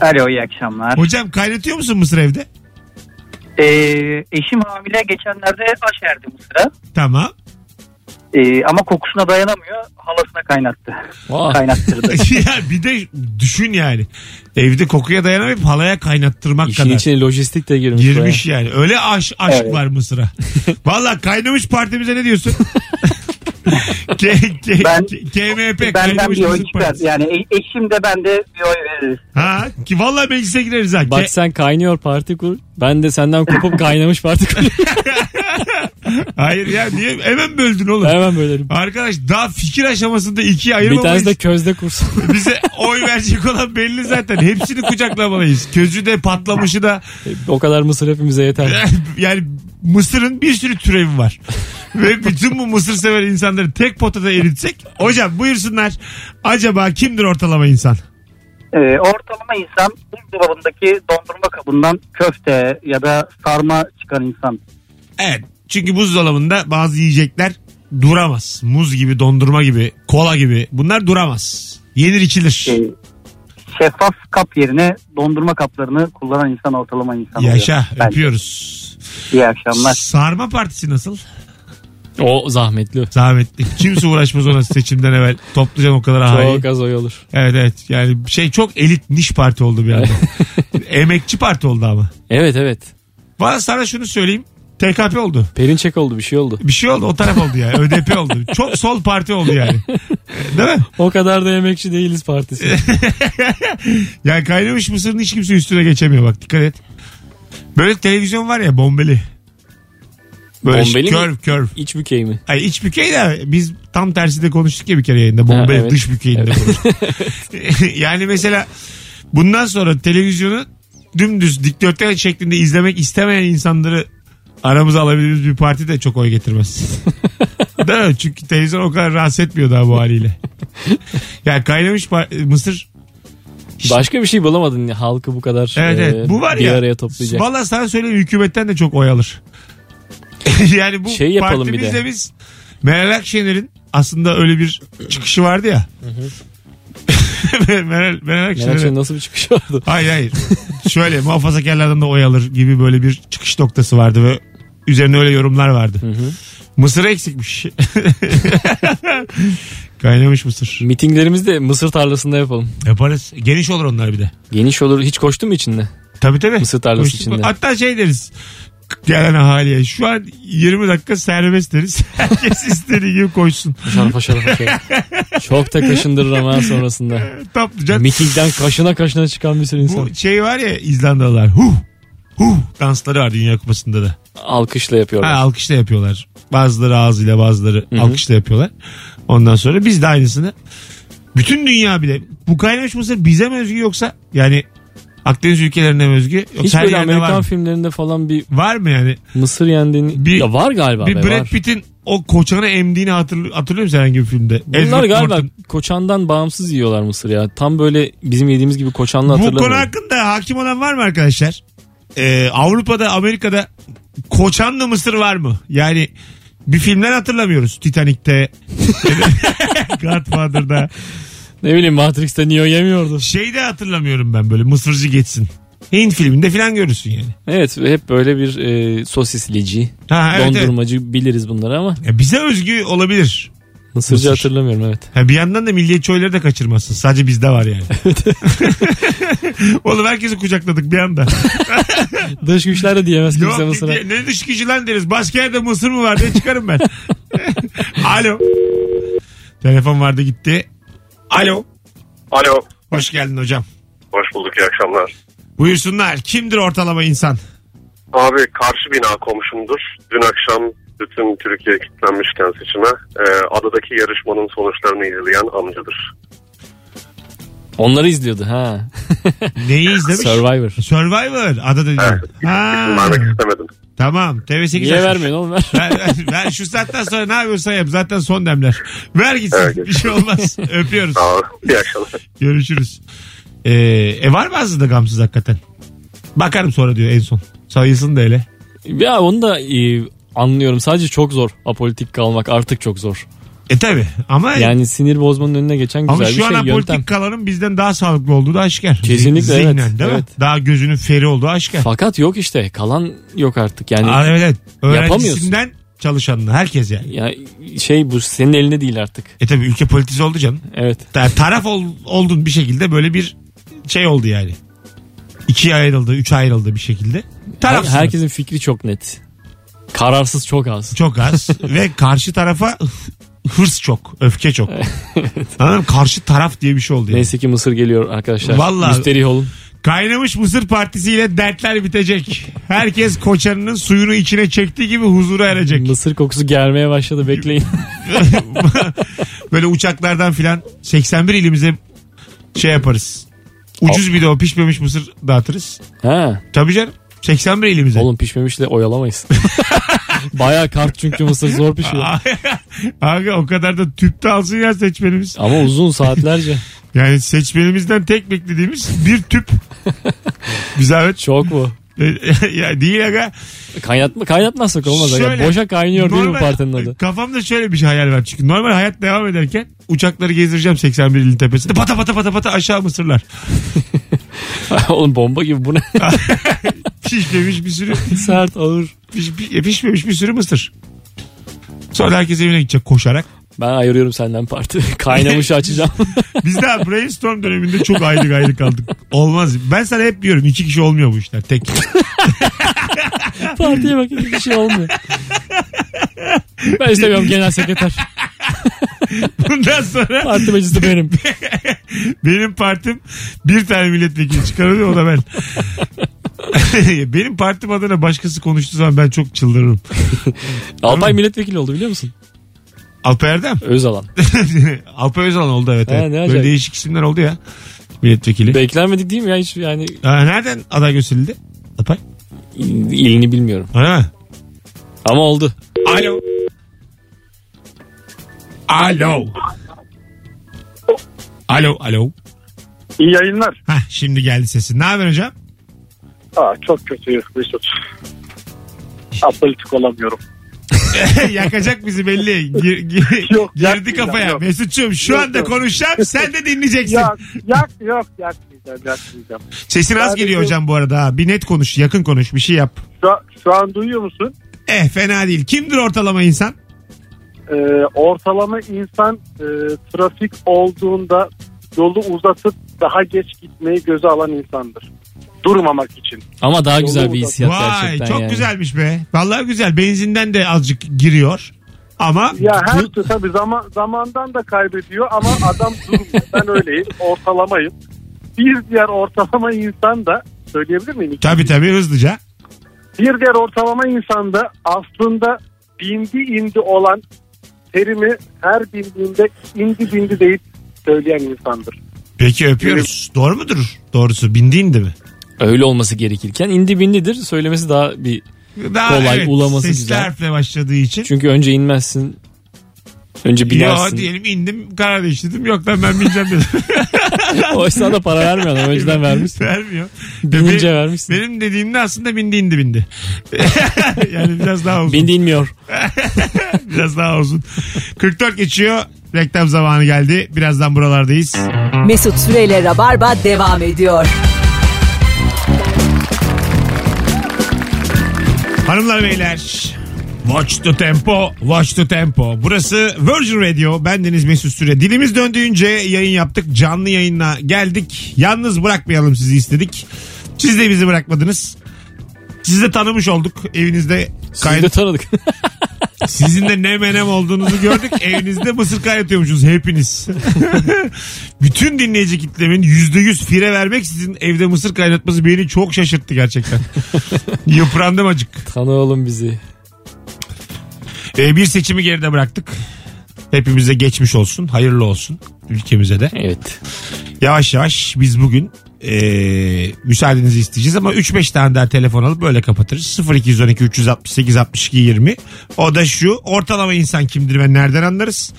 Speaker 8: Alo iyi akşamlar.
Speaker 2: Hocam kaynatıyor musun mısır evde?
Speaker 8: Ee, eşim hamile geçenlerde aşerdi Mısır'a.
Speaker 2: Tamam.
Speaker 8: Ee, ama kokusuna dayanamıyor. Halasına kaynattı.
Speaker 3: Aa.
Speaker 8: Kaynattırdı.
Speaker 2: ya bir de düşün yani. Evde kokuya dayanamayıp halaya kaynattırmak
Speaker 3: İşin
Speaker 2: kadar.
Speaker 3: içine lojistik de girmiş.
Speaker 2: Girmiş yani. Öyle aş, aşk
Speaker 8: Evet.
Speaker 2: var Mısır'a. Valla kaynamış partimize ne diyorsun? K, K,
Speaker 8: Ben-
Speaker 2: KMP
Speaker 8: Benden
Speaker 2: kaynamış
Speaker 8: bir oy
Speaker 2: Mısır
Speaker 8: çıkar.
Speaker 2: partisi.
Speaker 8: Yani e- eşim de ben de bir oy veririz.
Speaker 2: Ha, ki valla meclise gireriz ha.
Speaker 3: baya. Bak
Speaker 2: K-
Speaker 3: sen kaynıyor parti kur. Ben de senden kopup kaynamış parti kur.
Speaker 2: Hayır ya niye hemen böldün oğlum?
Speaker 3: Hemen bölerim.
Speaker 2: Arkadaş daha fikir aşamasında ikiye
Speaker 3: Bir
Speaker 2: ayırmamalıyız.
Speaker 3: tanesi de közde kursun.
Speaker 2: Bize oy verecek olan belli zaten. Hepsini kucaklamalıyız. Közü de patlamışı da
Speaker 3: o kadar mısır hepimize yeter.
Speaker 2: yani mısırın bir sürü türevi var. Ve bütün bu mısır sever insanları tek potada eritsek. Hocam buyursunlar. Acaba kimdir ortalama insan?
Speaker 8: Ee, ortalama insan buzdolabındaki dondurma kabından köfte ya da sarma çıkan insan.
Speaker 2: Evet. Çünkü buzdolabında bazı yiyecekler duramaz. Muz gibi, dondurma gibi, kola gibi. Bunlar duramaz. Yenir içilir.
Speaker 8: Ee, şeffaf kap yerine dondurma kaplarını kullanan insan ortalama insan oluyor.
Speaker 2: Yaşa.
Speaker 8: Ben-
Speaker 2: Öpüyoruz.
Speaker 8: İyi akşamlar.
Speaker 2: Sarma partisi nasıl?
Speaker 3: O zahmetli.
Speaker 2: Zahmetli. Kimse uğraşmaz ona seçimden evvel. Toplayacağım o kadar ahayı.
Speaker 3: Çok az oy olur.
Speaker 2: Evet evet. Yani şey çok elit niş parti oldu bir anda. Emekçi parti oldu ama.
Speaker 3: Evet evet.
Speaker 2: Bana sana şunu söyleyeyim. TKP oldu.
Speaker 3: Perinçek oldu bir şey oldu.
Speaker 2: Bir şey oldu. O taraf oldu yani. ÖDP oldu. Çok sol parti oldu yani. Ee, Değil mi?
Speaker 3: O kadar da emekçi değiliz partisi.
Speaker 2: Yani kaynamış mısırın hiç kimse üstüne geçemiyor bak. Dikkat et. Böyle televizyon var ya bombeli. Böyle
Speaker 3: Bombeli mi?
Speaker 2: curve curve.
Speaker 3: İç bükey mi?
Speaker 2: Ay iç bükey de biz tam tersi de konuştuk ya bir kere yayında. Bombe
Speaker 3: Ha, evet.
Speaker 2: dış bükeyinde konuştuk. yani mesela bundan sonra televizyonu dümdüz dikdörtgen şeklinde izlemek istemeyen insanları aramıza alabildiğimiz bir parti de çok oy getirmez. Değil mi? Çünkü televizyon o kadar rahatsız etmiyor daha bu haliyle. yani kaynamış par- mısır.
Speaker 3: Başka bir şey bulamadın ya, halkı bu kadar
Speaker 2: Evet evet.
Speaker 3: e,
Speaker 2: Bu var
Speaker 3: bir
Speaker 2: ya.
Speaker 3: araya toplayacak.
Speaker 2: Valla sana söyleyeyim hükümetten de çok oy alır. yani bu
Speaker 3: Şey yapalım bir de.
Speaker 2: partimizle biz Meral Akşener'in aslında öyle bir çıkışı vardı ya. Meral, Meral
Speaker 3: Merak
Speaker 2: Akşener'in.
Speaker 3: şey nasıl bir çıkış oldu?
Speaker 2: Hayır hayır. Şöyle muhafazakarlardan da oy alır gibi böyle bir çıkış noktası vardı ve üzerine öyle yorumlar vardı. Mısır eksikmiş. Kaynamış mısır.
Speaker 3: Mitinglerimizi de mısır tarlasında yapalım.
Speaker 2: Yaparız. Geniş olur onlar bir de.
Speaker 3: Geniş olur. Hiç koştun mu içinde?
Speaker 2: Tabii tabii.
Speaker 3: Mısır tarlası
Speaker 2: Koştuk
Speaker 3: içinde.
Speaker 2: mu? Hatta şey deriz. Gelen ahaliye. Şu an 20 dakika serbest deriz. Herkes istediği gibi koşsun.
Speaker 3: Paşar paşar paşar. Çok da kaşındırır ama sonrasında.
Speaker 2: Topluca.
Speaker 3: Mitingden kaşına kaşına çıkan bir sürü insan.
Speaker 2: Bu şey var ya İzlandalılar. Huh. Huh. Dansları var Dünya Kupası'nda da.
Speaker 3: Alkışla
Speaker 2: Ha,
Speaker 3: yapıyorlar.
Speaker 2: alkışla yapıyorlar. Bazıları ağzıyla bazıları alkışla yapıyorlar. Ondan sonra biz de aynısını. Bütün dünya bile. Bu kaynamış mısır bize mi özgü yoksa yani Akdeniz ülkelerine mi özgü? Yoksa
Speaker 3: Hiç
Speaker 2: her
Speaker 3: böyle
Speaker 2: yerde var
Speaker 3: Amerikan
Speaker 2: mı?
Speaker 3: filmlerinde falan bir
Speaker 2: Var mı yani?
Speaker 3: Mısır yendiğini...
Speaker 2: Bir-
Speaker 3: ya var galiba
Speaker 2: Bir
Speaker 3: be,
Speaker 2: Brad
Speaker 3: var.
Speaker 2: Pitt'in o koçanı emdiğini hatırl hatırlıyor musun herhangi bir filmde?
Speaker 3: Bunlar
Speaker 2: Edward
Speaker 3: galiba
Speaker 2: Norton.
Speaker 3: koçandan bağımsız yiyorlar mısır ya. Tam böyle bizim yediğimiz gibi
Speaker 2: Bu
Speaker 3: koçanla
Speaker 2: konu
Speaker 3: hatırlamıyorum.
Speaker 2: hakkında hakim olan var mı arkadaşlar? Ee, Avrupa'da, Amerika'da koçanlı mısır var mı? Yani bir filmden hatırlamıyoruz. Titanic'te, Godfather'da.
Speaker 3: Ne bileyim Matrix'te Neo yemiyordu.
Speaker 2: Şeyde hatırlamıyorum ben böyle mısırcı geçsin. Hint filminde filan görürsün yani.
Speaker 3: Evet hep böyle bir e, sosislici,
Speaker 2: Ha, evet,
Speaker 3: dondurmacı biliriz bunları ama
Speaker 2: Ya bize özgü olabilir. Mısır.
Speaker 3: mısırcı hatırlamıyorum evet.
Speaker 2: Ha bir yandan da milliyetçi oyları da kaçırmazsın. Sadece bizde var yani. Oğlum herkesi kucakladık bir anda.
Speaker 3: Dış güçler de diyemez kimse
Speaker 2: Yok
Speaker 3: mısıra.
Speaker 2: ne dış gücü lan deriz. Başka yerde mısır mı var diye çıkarım ben. Alo. Telefon vardı gitti. Alo.
Speaker 9: Alo.
Speaker 2: Hoş geldin hocam.
Speaker 9: Hoş bulduk iyi akşamlar.
Speaker 2: Buyursunlar. Kimdir ortalama insan?
Speaker 9: Abi karşı bina komşumdur. Dün akşam bütün Türkiye kilitlenmişken seçime e, adadaki yarışmanın sonuçlarını izleyen amcadır.
Speaker 3: Onları izliyordu ha.
Speaker 2: Neyi izlemiş?
Speaker 3: Survivor.
Speaker 2: Survivor. Ada dedi. Ha.
Speaker 9: İsim vermek istemedim.
Speaker 2: Tamam. TV8
Speaker 3: Niye
Speaker 2: açmış.
Speaker 3: vermiyorsun oğlum ver.
Speaker 2: Ver, ver, ver. Şu saatten sonra ne yapıyorsan yap. Zaten son demler. Ver gitsin.
Speaker 9: Evet.
Speaker 2: Bir şey olmaz. Öpüyoruz.
Speaker 9: Aa, iyi akşamlar.
Speaker 2: Görüşürüz. Ee, e var mı aslında gamsız hakikaten? Bakarım sonra diyor en son. Sayısın da hele.
Speaker 3: Ya onu da e, anlıyorum. Sadece çok zor. Apolitik kalmak artık çok zor.
Speaker 2: E tabi ama
Speaker 3: Yani sinir bozmanın önüne geçen güzel
Speaker 2: ama
Speaker 3: bir
Speaker 2: şu an
Speaker 3: şey
Speaker 2: politik
Speaker 3: yöntem.
Speaker 2: kalanın bizden daha sağlıklı olduğu da aşikar.
Speaker 3: Kesinlikle,
Speaker 2: Zihnen,
Speaker 3: evet.
Speaker 2: değil mi?
Speaker 3: Evet.
Speaker 2: Daha gözünün feri olduğu aşikar.
Speaker 3: Fakat yok işte. Kalan yok artık. Yani
Speaker 2: Aa, evet, evet.
Speaker 3: Yapamıyorsun.
Speaker 2: Öğrencisinden çalışanına herkes yani.
Speaker 3: ya şey bu senin elinde değil artık.
Speaker 2: E tabi ülke politize oldu canım.
Speaker 3: Evet.
Speaker 2: Ta- taraf ol- oldun bir şekilde böyle bir şey oldu yani. İkiye ayrıldı, üç ayrıldı bir şekilde.
Speaker 3: Her-
Speaker 2: Tarafsın.
Speaker 3: herkesin fikri çok net. Kararsız çok az.
Speaker 2: çok az ve karşı tarafa hırs çok, öfke çok. Anladın mı? Karşı taraf diye bir şey oldu. Yani.
Speaker 3: Neyse ki Mısır geliyor arkadaşlar.
Speaker 2: Vallahi-
Speaker 3: Müsterih olun.
Speaker 2: Kaynamış mısır partisiyle dertler bitecek. Herkes koçanının suyunu içine çektiği gibi huzura erecek.
Speaker 3: Mısır kokusu gelmeye başladı bekleyin.
Speaker 2: Böyle uçaklardan filan 81 ilimize şey yaparız. Ucuz bir de o pişmemiş mısır dağıtırız.
Speaker 3: ha,
Speaker 2: Tabii canım 81 ilimize.
Speaker 3: oğlum pişmemişle oyalamayız. Baya kart çünkü Mısır zor pişiyor.
Speaker 2: Abi o kadar da tüpte alsın ya seçmenimiz.
Speaker 3: Ama uzun saatlerce.
Speaker 2: Yani seçmenimizden tek beklediğimiz bir tüp. Güzel evet.
Speaker 3: Çok bu.
Speaker 2: ya değil aga.
Speaker 3: Kaynatma, kaynatmazsak olmaz. aga.
Speaker 2: Şöyle,
Speaker 3: boşa kaynıyor değil mi bu partinin adı?
Speaker 2: Kafamda şöyle bir şey hayal var çünkü. Normal hayat devam ederken uçakları gezdireceğim 81 ilin tepesinde. Pata pata pata pata aşağı mısırlar.
Speaker 3: oğlum bomba gibi bu ne?
Speaker 2: Pişmemiş bir sürü
Speaker 3: Sert ağır.
Speaker 2: piş, piş- e, pişmemiş bir sürü mısır. Sonra herkes evine gidecek koşarak.
Speaker 3: Ben ayırıyorum senden parti. Kaynamışı açacağım.
Speaker 2: Biz daha brainstorm döneminde çok ayrı ayrı kaldık. Olmaz. Ben sana hep diyorum iki kişi olmuyor bu işler. Tek.
Speaker 3: Partiye bak hiçbir şey olmuyor. Ben istemiyorum genel sekreter.
Speaker 2: Bundan sonra
Speaker 3: Parti meclisi benim.
Speaker 2: benim partim bir tane milletvekili çıkarılıyor o da ben. benim partim adına başkası konuştuğu zaman ben çok çıldırırım.
Speaker 3: Alpay milletvekili oldu biliyor musun?
Speaker 2: Alper Erdem.
Speaker 3: Özalan.
Speaker 2: Alper Özalan oldu evet.
Speaker 3: Ha,
Speaker 2: evet.
Speaker 3: ne
Speaker 2: Böyle
Speaker 3: acayip.
Speaker 2: değişik isimler oldu ya. Milletvekili.
Speaker 3: Beklenmedik değil mi ya hiç yani
Speaker 2: Ha, nereden aday gösterildi? Alpay.
Speaker 3: il- ilini bilmiyorum.
Speaker 2: Ha.
Speaker 3: Ama oldu.
Speaker 2: Alo. Alo. Alo, alo.
Speaker 7: İyi yayınlar.
Speaker 2: Hah, şimdi geldi sesi. Ne haber hocam?
Speaker 7: Aa, çok kötü Mesut. Apolitik olamıyorum.
Speaker 2: Yakacak bizi belli. Gir, gir-
Speaker 7: Yok,
Speaker 2: girdi
Speaker 7: yakmayacağım,
Speaker 2: kafaya.
Speaker 7: yok.
Speaker 2: Mesut'cum şu
Speaker 7: Yok,
Speaker 2: anda
Speaker 7: yok.
Speaker 2: konuşacağım sen de dinleyeceksin.
Speaker 7: Yak, yak, yok yakmayacağım, yakmayacağım.
Speaker 2: Sesin az
Speaker 7: Sadece-
Speaker 2: geliyor hocam bu arada. ha. Bir net konuş, yakın konuş, bir şey yap.
Speaker 7: Şu, an- şu an duyuyor musun?
Speaker 2: Eh fena değil. Kimdir ortalama insan?
Speaker 7: Ee, ortalama insan e, trafik olduğunda yolu uzatıp daha geç gitmeyi göze alan insandır. Durmamak için.
Speaker 3: Ama daha güzel bir
Speaker 7: uzak.
Speaker 3: hissiyat
Speaker 2: Vay
Speaker 3: gerçekten
Speaker 2: çok
Speaker 3: yani.
Speaker 2: güzelmiş be. Vallahi güzel. Benzinden de azıcık giriyor. Ama
Speaker 7: Ya her
Speaker 2: bu-
Speaker 7: şey tabii zaman, zamandan da kaybediyor ama adam durmuyor. ben öyleyim, ortalamayım. Bir diğer ortalama insan da söyleyebilir miyim? İki-
Speaker 2: tabii tabii hızlıca.
Speaker 7: Bir diğer ortalama insanda aslında bindi indi olan terimi her bindiğinde indi bindi deyip söyleyen insandır.
Speaker 2: Peki öpüyoruz. Doğru mudur? Doğrusu bindiğin de mi?
Speaker 3: Öyle olması gerekirken indi bindidir. Söylemesi daha bir
Speaker 2: Daha
Speaker 3: Kolay,
Speaker 2: evet,
Speaker 3: ulaması
Speaker 2: sesli
Speaker 3: güzel.
Speaker 2: harfle başladığı için.
Speaker 3: Çünkü önce inmezsin. Önce
Speaker 2: Ya
Speaker 3: binersin.
Speaker 2: diyelim indim karar değiştirdim yok lan ben bineceğim dedim.
Speaker 3: o esnada para vermiyor adam. Önceden vermiş.
Speaker 2: Vermiyor.
Speaker 3: Binince
Speaker 2: Benim-
Speaker 3: vermişsin.
Speaker 2: Benim dediğimde aslında bindi indi bindi. yani biraz daha uzun.
Speaker 3: Bindi inmiyor.
Speaker 2: Biraz daha uzun. 44 geçiyor. Reklam zamanı geldi. Birazdan buralardayız.
Speaker 1: Mesut Süreyle Rabarba devam ediyor.
Speaker 2: Hanımlar beyler. Watch the tempo, watch the tempo. Burası Virgin Radio. Bendeniz Mesut Süre. Dilimiz döndüğünce yayın yaptık. Canlı yayına geldik. Yalnız bırakmayalım sizi istedik. Siz de bizi bırakmadınız. Sizi de tanımış olduk. Evinizde
Speaker 3: Sizi de tanıdık.
Speaker 2: Sizin de ne menem olduğunuzu gördük. Evinizde mısır kaynatıyormuşsunuz hepiniz. Bütün dinleyici kitlemin %100 fire vermek sizin evde mısır kaynatması beni çok şaşırttı gerçekten. Yıprandım acık.
Speaker 3: Tanı oğlum bizi.
Speaker 2: Ee, bir seçimi geride bıraktık. Hepimize geçmiş olsun, hayırlı olsun ülkemize de.
Speaker 3: Evet.
Speaker 2: Yavaş yavaş biz bugün ee, müsaadenizi isteyeceğiz ama 3-5 tane daha telefon alıp böyle kapatırız. 0212 368 62 20. O da şu ortalama insan kimdir ve nereden anlarız?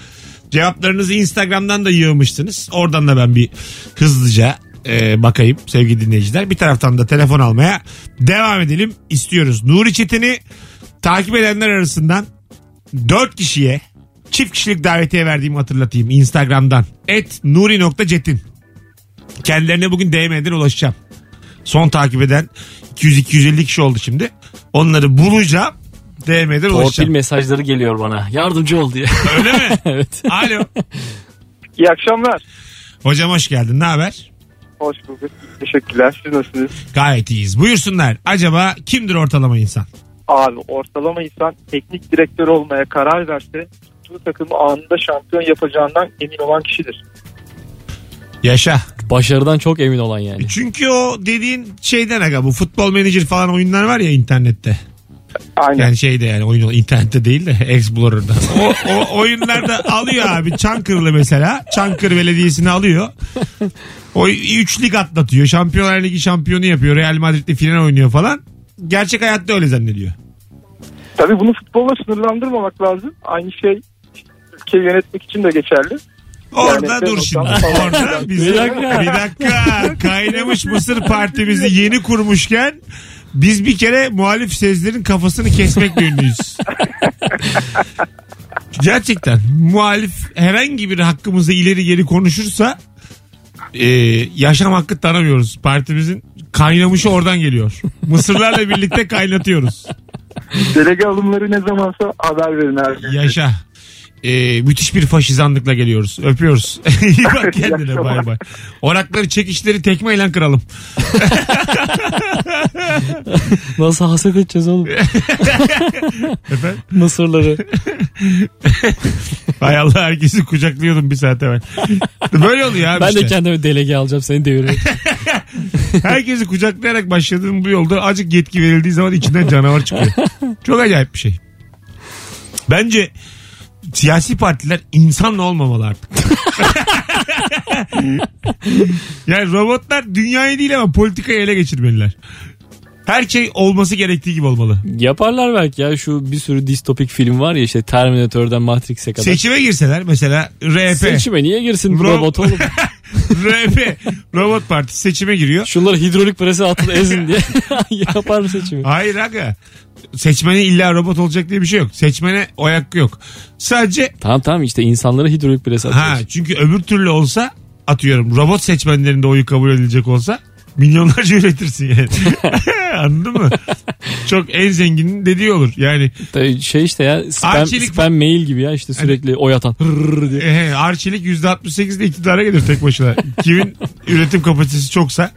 Speaker 2: Cevaplarınızı Instagram'dan da yığmıştınız. Oradan da ben bir hızlıca ee, bakayım sevgili dinleyiciler. Bir taraftan da telefon almaya devam edelim istiyoruz. Nuri Çetin'i takip edenler arasından 4 kişiye çift kişilik davetiye verdiğimi hatırlatayım Instagram'dan. Et nuri.cetin. Kendilerine bugün DM'den ulaşacağım. Son takip eden 200-250 kişi oldu şimdi. Onları bulacağım. DM'den
Speaker 3: Torpil
Speaker 2: ulaşacağım.
Speaker 3: mesajları geliyor bana. Yardımcı ol diye.
Speaker 2: Öyle mi?
Speaker 3: evet.
Speaker 2: Alo.
Speaker 6: İyi akşamlar.
Speaker 2: Hocam hoş geldin. Ne haber?
Speaker 6: Hoş bulduk. Teşekkürler. Siz nasılsınız?
Speaker 2: Gayet iyiyiz. Buyursunlar. Acaba kimdir ortalama insan?
Speaker 6: Abi ortalama insan teknik direktör olmaya karar verse tuttuğu takımı anında şampiyon yapacağından emin olan kişidir.
Speaker 2: Yaşa.
Speaker 3: Başarıdan çok emin olan yani.
Speaker 2: E Çünkü o dediğin şeyden aga bu futbol menajer falan oyunlar var ya internette.
Speaker 6: Aynen.
Speaker 2: Yani şeyde yani oyun internette değil de Explorer'da. O, o oyunlarda alıyor abi Çankırılı mesela. Çankırı Belediyesi'ni alıyor. O üç lig atlatıyor. Şampiyonlar Ligi şampiyonu yapıyor. Real Madrid'de final oynuyor falan. Gerçek hayatta öyle zannediyor.
Speaker 6: Tabii bunu futbolla sınırlandırmamak lazım. Aynı şey ülkeyi yönetmek için de geçerli.
Speaker 2: Orada
Speaker 6: Yani
Speaker 2: dur şimdi.
Speaker 6: Fenerbahçe falan
Speaker 2: Orada
Speaker 6: filan.
Speaker 2: biz
Speaker 3: Bir dakika.
Speaker 2: bir dakika. Kaynamış Mısır Partimizi yeni kurmuşken biz bir kere muhalif sezlerin kafasını kesmekle ünlüyüz. Gerçekten muhalif herhangi bir hakkımızı ileri geri konuşursa e, yaşam hakkı tanımıyoruz. Partimizin kaynamışı oradan geliyor. Mısırlarla birlikte kaynatıyoruz.
Speaker 6: Delege alımları ne zamansa haber verin abi.
Speaker 2: Yaşa. Ee, müthiş bir faşizanlıkla geliyoruz. Öpüyoruz. İyi bak kendine bay bay. Orakları çekişleri tekmeyle kıralım.
Speaker 3: Nasıl hasat edeceğiz oğlum?
Speaker 2: Efendim?
Speaker 3: Mısırları.
Speaker 2: Hay Allah herkesi kucaklıyordum bir saat evvel. Böyle oluyor abi
Speaker 3: Ben
Speaker 2: işte.
Speaker 3: de kendime delege alacağım seni deviriyorum.
Speaker 2: Herkesi kucaklayarak başladığım bu yolda acık yetki verildiği zaman içinden canavar çıkıyor. Çok acayip bir şey. Bence siyasi partiler insanla olmamalı artık. yani robotlar dünyayı değil ama politikayı ele geçirmeliler. Her şey olması gerektiği gibi olmalı.
Speaker 3: Yaparlar belki ya şu bir sürü distopik film var ya işte Terminator'dan Matrix'e kadar.
Speaker 2: Seçime girseler mesela RP,
Speaker 3: Seçime niye girsin bu
Speaker 2: Ro-
Speaker 3: robot oğlum?
Speaker 2: RP Robot Partisi seçime giriyor.
Speaker 3: Şunları hidrolik prese atın ezin diye. Yapar mı seçimi?
Speaker 2: Hayır aga. Seçmene illa robot olacak diye bir şey yok. Seçmene oy hakkı yok. Sadece
Speaker 3: Tamam tamam işte insanları hidrolik prese atıyorsun.
Speaker 2: ha çünkü öbür türlü olsa atıyorum robot seçmenlerinde oyu kabul edilecek olsa milyonlarca üretirsin yani. Anladın mı? Çok en zenginin dediği olur. Yani
Speaker 3: Tabii şey işte ya spam,
Speaker 2: Arçelik-
Speaker 3: spam mail gibi ya işte sürekli oy atan. Hırrrr diye.
Speaker 2: e, arçelik %68'de iktidara gelir tek başına. Kimin üretim kapasitesi çoksa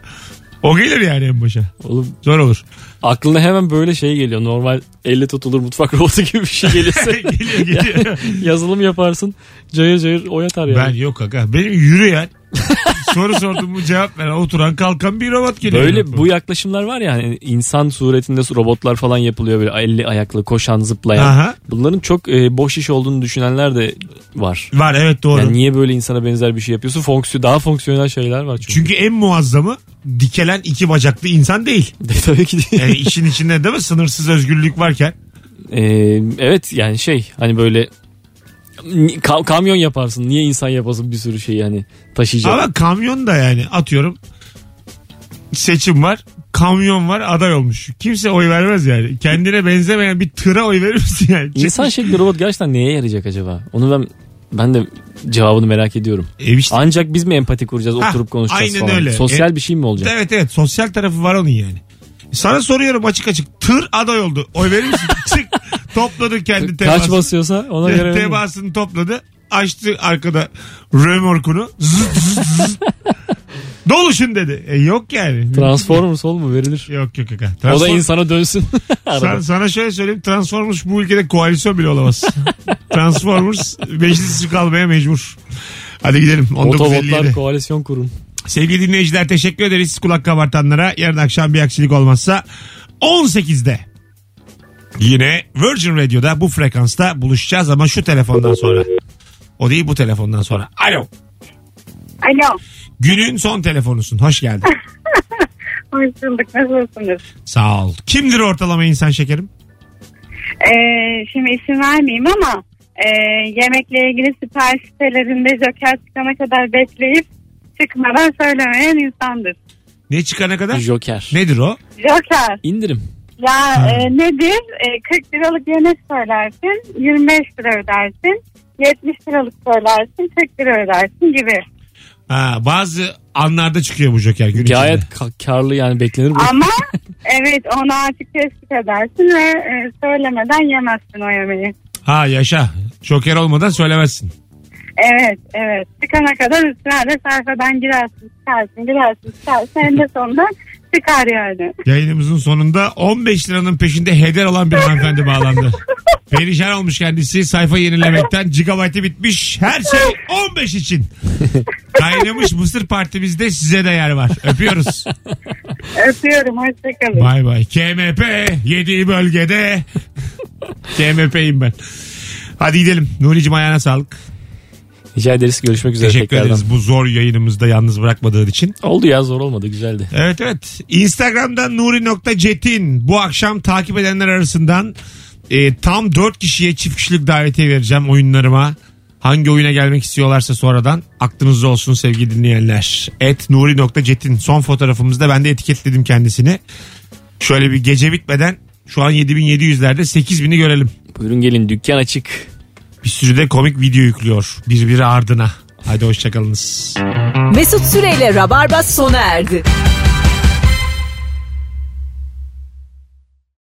Speaker 2: o gelir yani en başa.
Speaker 3: Oğlum
Speaker 2: Zor olur.
Speaker 3: aklına hemen böyle şey geliyor. Normal elle tutulur mutfak robotu gibi bir şey gelirse
Speaker 2: geliyor geliyor.
Speaker 3: yazılım yaparsın. Cayır cayır oy atar yani.
Speaker 2: Ben yok aga. Benim yürü yani. Soru sordum mu cevap ver. Oturan kalkan bir robot geliyor.
Speaker 3: Böyle bu yaklaşımlar var ya hani insan suretinde robotlar falan yapılıyor böyle elli ayaklı koşan zıplayan.
Speaker 2: Aha.
Speaker 3: Bunların çok e, boş iş olduğunu düşünenler de var.
Speaker 2: Var evet doğru.
Speaker 3: Yani niye böyle insana benzer bir şey yapıyorsun? Fonksiyon daha fonksiyonel şeyler var çünkü.
Speaker 2: Çünkü en muazzamı dikelen iki bacaklı insan değil.
Speaker 3: Tabii ki değil.
Speaker 2: Yani işin içinde değil mi? Sınırsız özgürlük varken.
Speaker 3: Ee, evet yani şey hani böyle ni- ka- kamyon yaparsın. Niye insan yapasın bir sürü şeyi hani taşıyacak.
Speaker 2: Ama kamyon da yani atıyorum seçim var. Kamyon var aday olmuş. Kimse oy vermez yani. Kendine benzemeyen bir tıra oy verir misin yani?
Speaker 3: İnsan şekli robot gerçekten neye yarayacak acaba? Onu ben ben de cevabını merak ediyorum.
Speaker 2: E işte-
Speaker 3: Ancak biz mi empati kuracağız,
Speaker 2: Ha,
Speaker 3: oturup konuşacağız
Speaker 2: aynen
Speaker 3: falan.
Speaker 2: öyle.
Speaker 3: Sosyal
Speaker 2: E,
Speaker 3: bir şey mi olacak?
Speaker 2: Evet evet sosyal tarafı var onun yani. Sana soruyorum açık açık. Tır aday oldu. Oy verir misin? Çık. Topladı kendi
Speaker 3: Kaç
Speaker 2: temasını.
Speaker 3: basıyorsa ona göre verelim.
Speaker 2: Temasını topladı. Açtı arkada römorkunu. Zıt zıt zıt. Doluşun dedi. E yok yani.
Speaker 3: Transformers ol mu verilir?
Speaker 2: Yok yok yok.
Speaker 3: O da
Speaker 2: Transform-
Speaker 3: insana dönsün.
Speaker 2: Sana,
Speaker 3: Arada.
Speaker 2: sana şöyle söyleyeyim. Transformers bu ülkede koalisyon bile olamaz. Transformers meclisi kalmaya mecbur. Hadi gidelim.
Speaker 3: Otobotlar
Speaker 2: 1957.
Speaker 3: koalisyon kurun.
Speaker 2: Sevgili dinleyiciler teşekkür ederiz kulak kabartanlara. Yarın akşam bir aksilik olmazsa 18'de yine Virgin Radio'da bu frekansta buluşacağız ama şu telefondan sonra. O değil bu telefondan sonra. Alo.
Speaker 4: Alo.
Speaker 2: Günün son telefonusun. Hoş geldin.
Speaker 4: Hoş bulduk. Nasılsınız?
Speaker 2: Sağ ol. Kimdir ortalama insan şekerim?
Speaker 4: Ee, şimdi isim vermeyeyim ama e, yemekle ilgili sipariş sitelerinde joker çıkana kadar bekleyip çıkmadan söylemeyen insandır.
Speaker 2: Ne çıkana kadar?
Speaker 3: Joker.
Speaker 2: Nedir o?
Speaker 4: Joker.
Speaker 3: İndirim.
Speaker 4: Ya e, nedir? E, 40 liralık yemek söylersin, 25 lira ödersin. 70 liralık söylersin, 40 lira ödersin gibi.
Speaker 2: Ha, bazı anlarda çıkıyor bu joker gün
Speaker 3: Gayet
Speaker 2: içinde.
Speaker 3: ka- karlı yani beklenir bu.
Speaker 4: Ama evet onu artık tespit edersin ve e, söylemeden yemezsin o yemeği.
Speaker 2: Ha yaşa. Joker olmadan söylemezsin.
Speaker 4: Evet, evet. Çıkana kadar ısrarla sayfadan girersin, çıkarsın, girersin, çıkarsın. En de sonunda çıkar yani.
Speaker 2: Yayınımızın sonunda 15 liranın peşinde heder olan bir hanımefendi bağlandı. Perişan olmuş kendisi. Sayfa yenilemekten gigabaytı bitmiş. Her şey 15 için. Kaynamış Mısır Partimizde size de yer var. Öpüyoruz.
Speaker 4: Öpüyorum, hoşçakalın.
Speaker 2: Bay bay. KMP 7 bölgede. KMP'yim ben. Hadi gidelim. Nuri'cim ayağına sağlık.
Speaker 3: Rica ederiz görüşmek üzere
Speaker 2: Teşekkür
Speaker 3: tekrardan.
Speaker 2: ederiz bu zor yayınımızda yalnız bırakmadığın için.
Speaker 3: Oldu ya zor olmadı güzeldi.
Speaker 2: Evet evet. Instagram'dan nuri.cetin bu akşam takip edenler arasından e, tam 4 kişiye çift kişilik davetiye vereceğim oyunlarıma. Hangi oyuna gelmek istiyorlarsa sonradan aklınızda olsun sevgili dinleyenler. Et nuri.cetin son fotoğrafımızda ben de etiketledim kendisini. Şöyle bir gece bitmeden şu an 7700'lerde 8000'i görelim.
Speaker 3: Buyurun gelin dükkan açık.
Speaker 2: Bir sürü de komik video yüklüyor birbiri ardına. Hadi hoşçakalınız.
Speaker 1: Mesut Süreyle Rabarba sona erdi.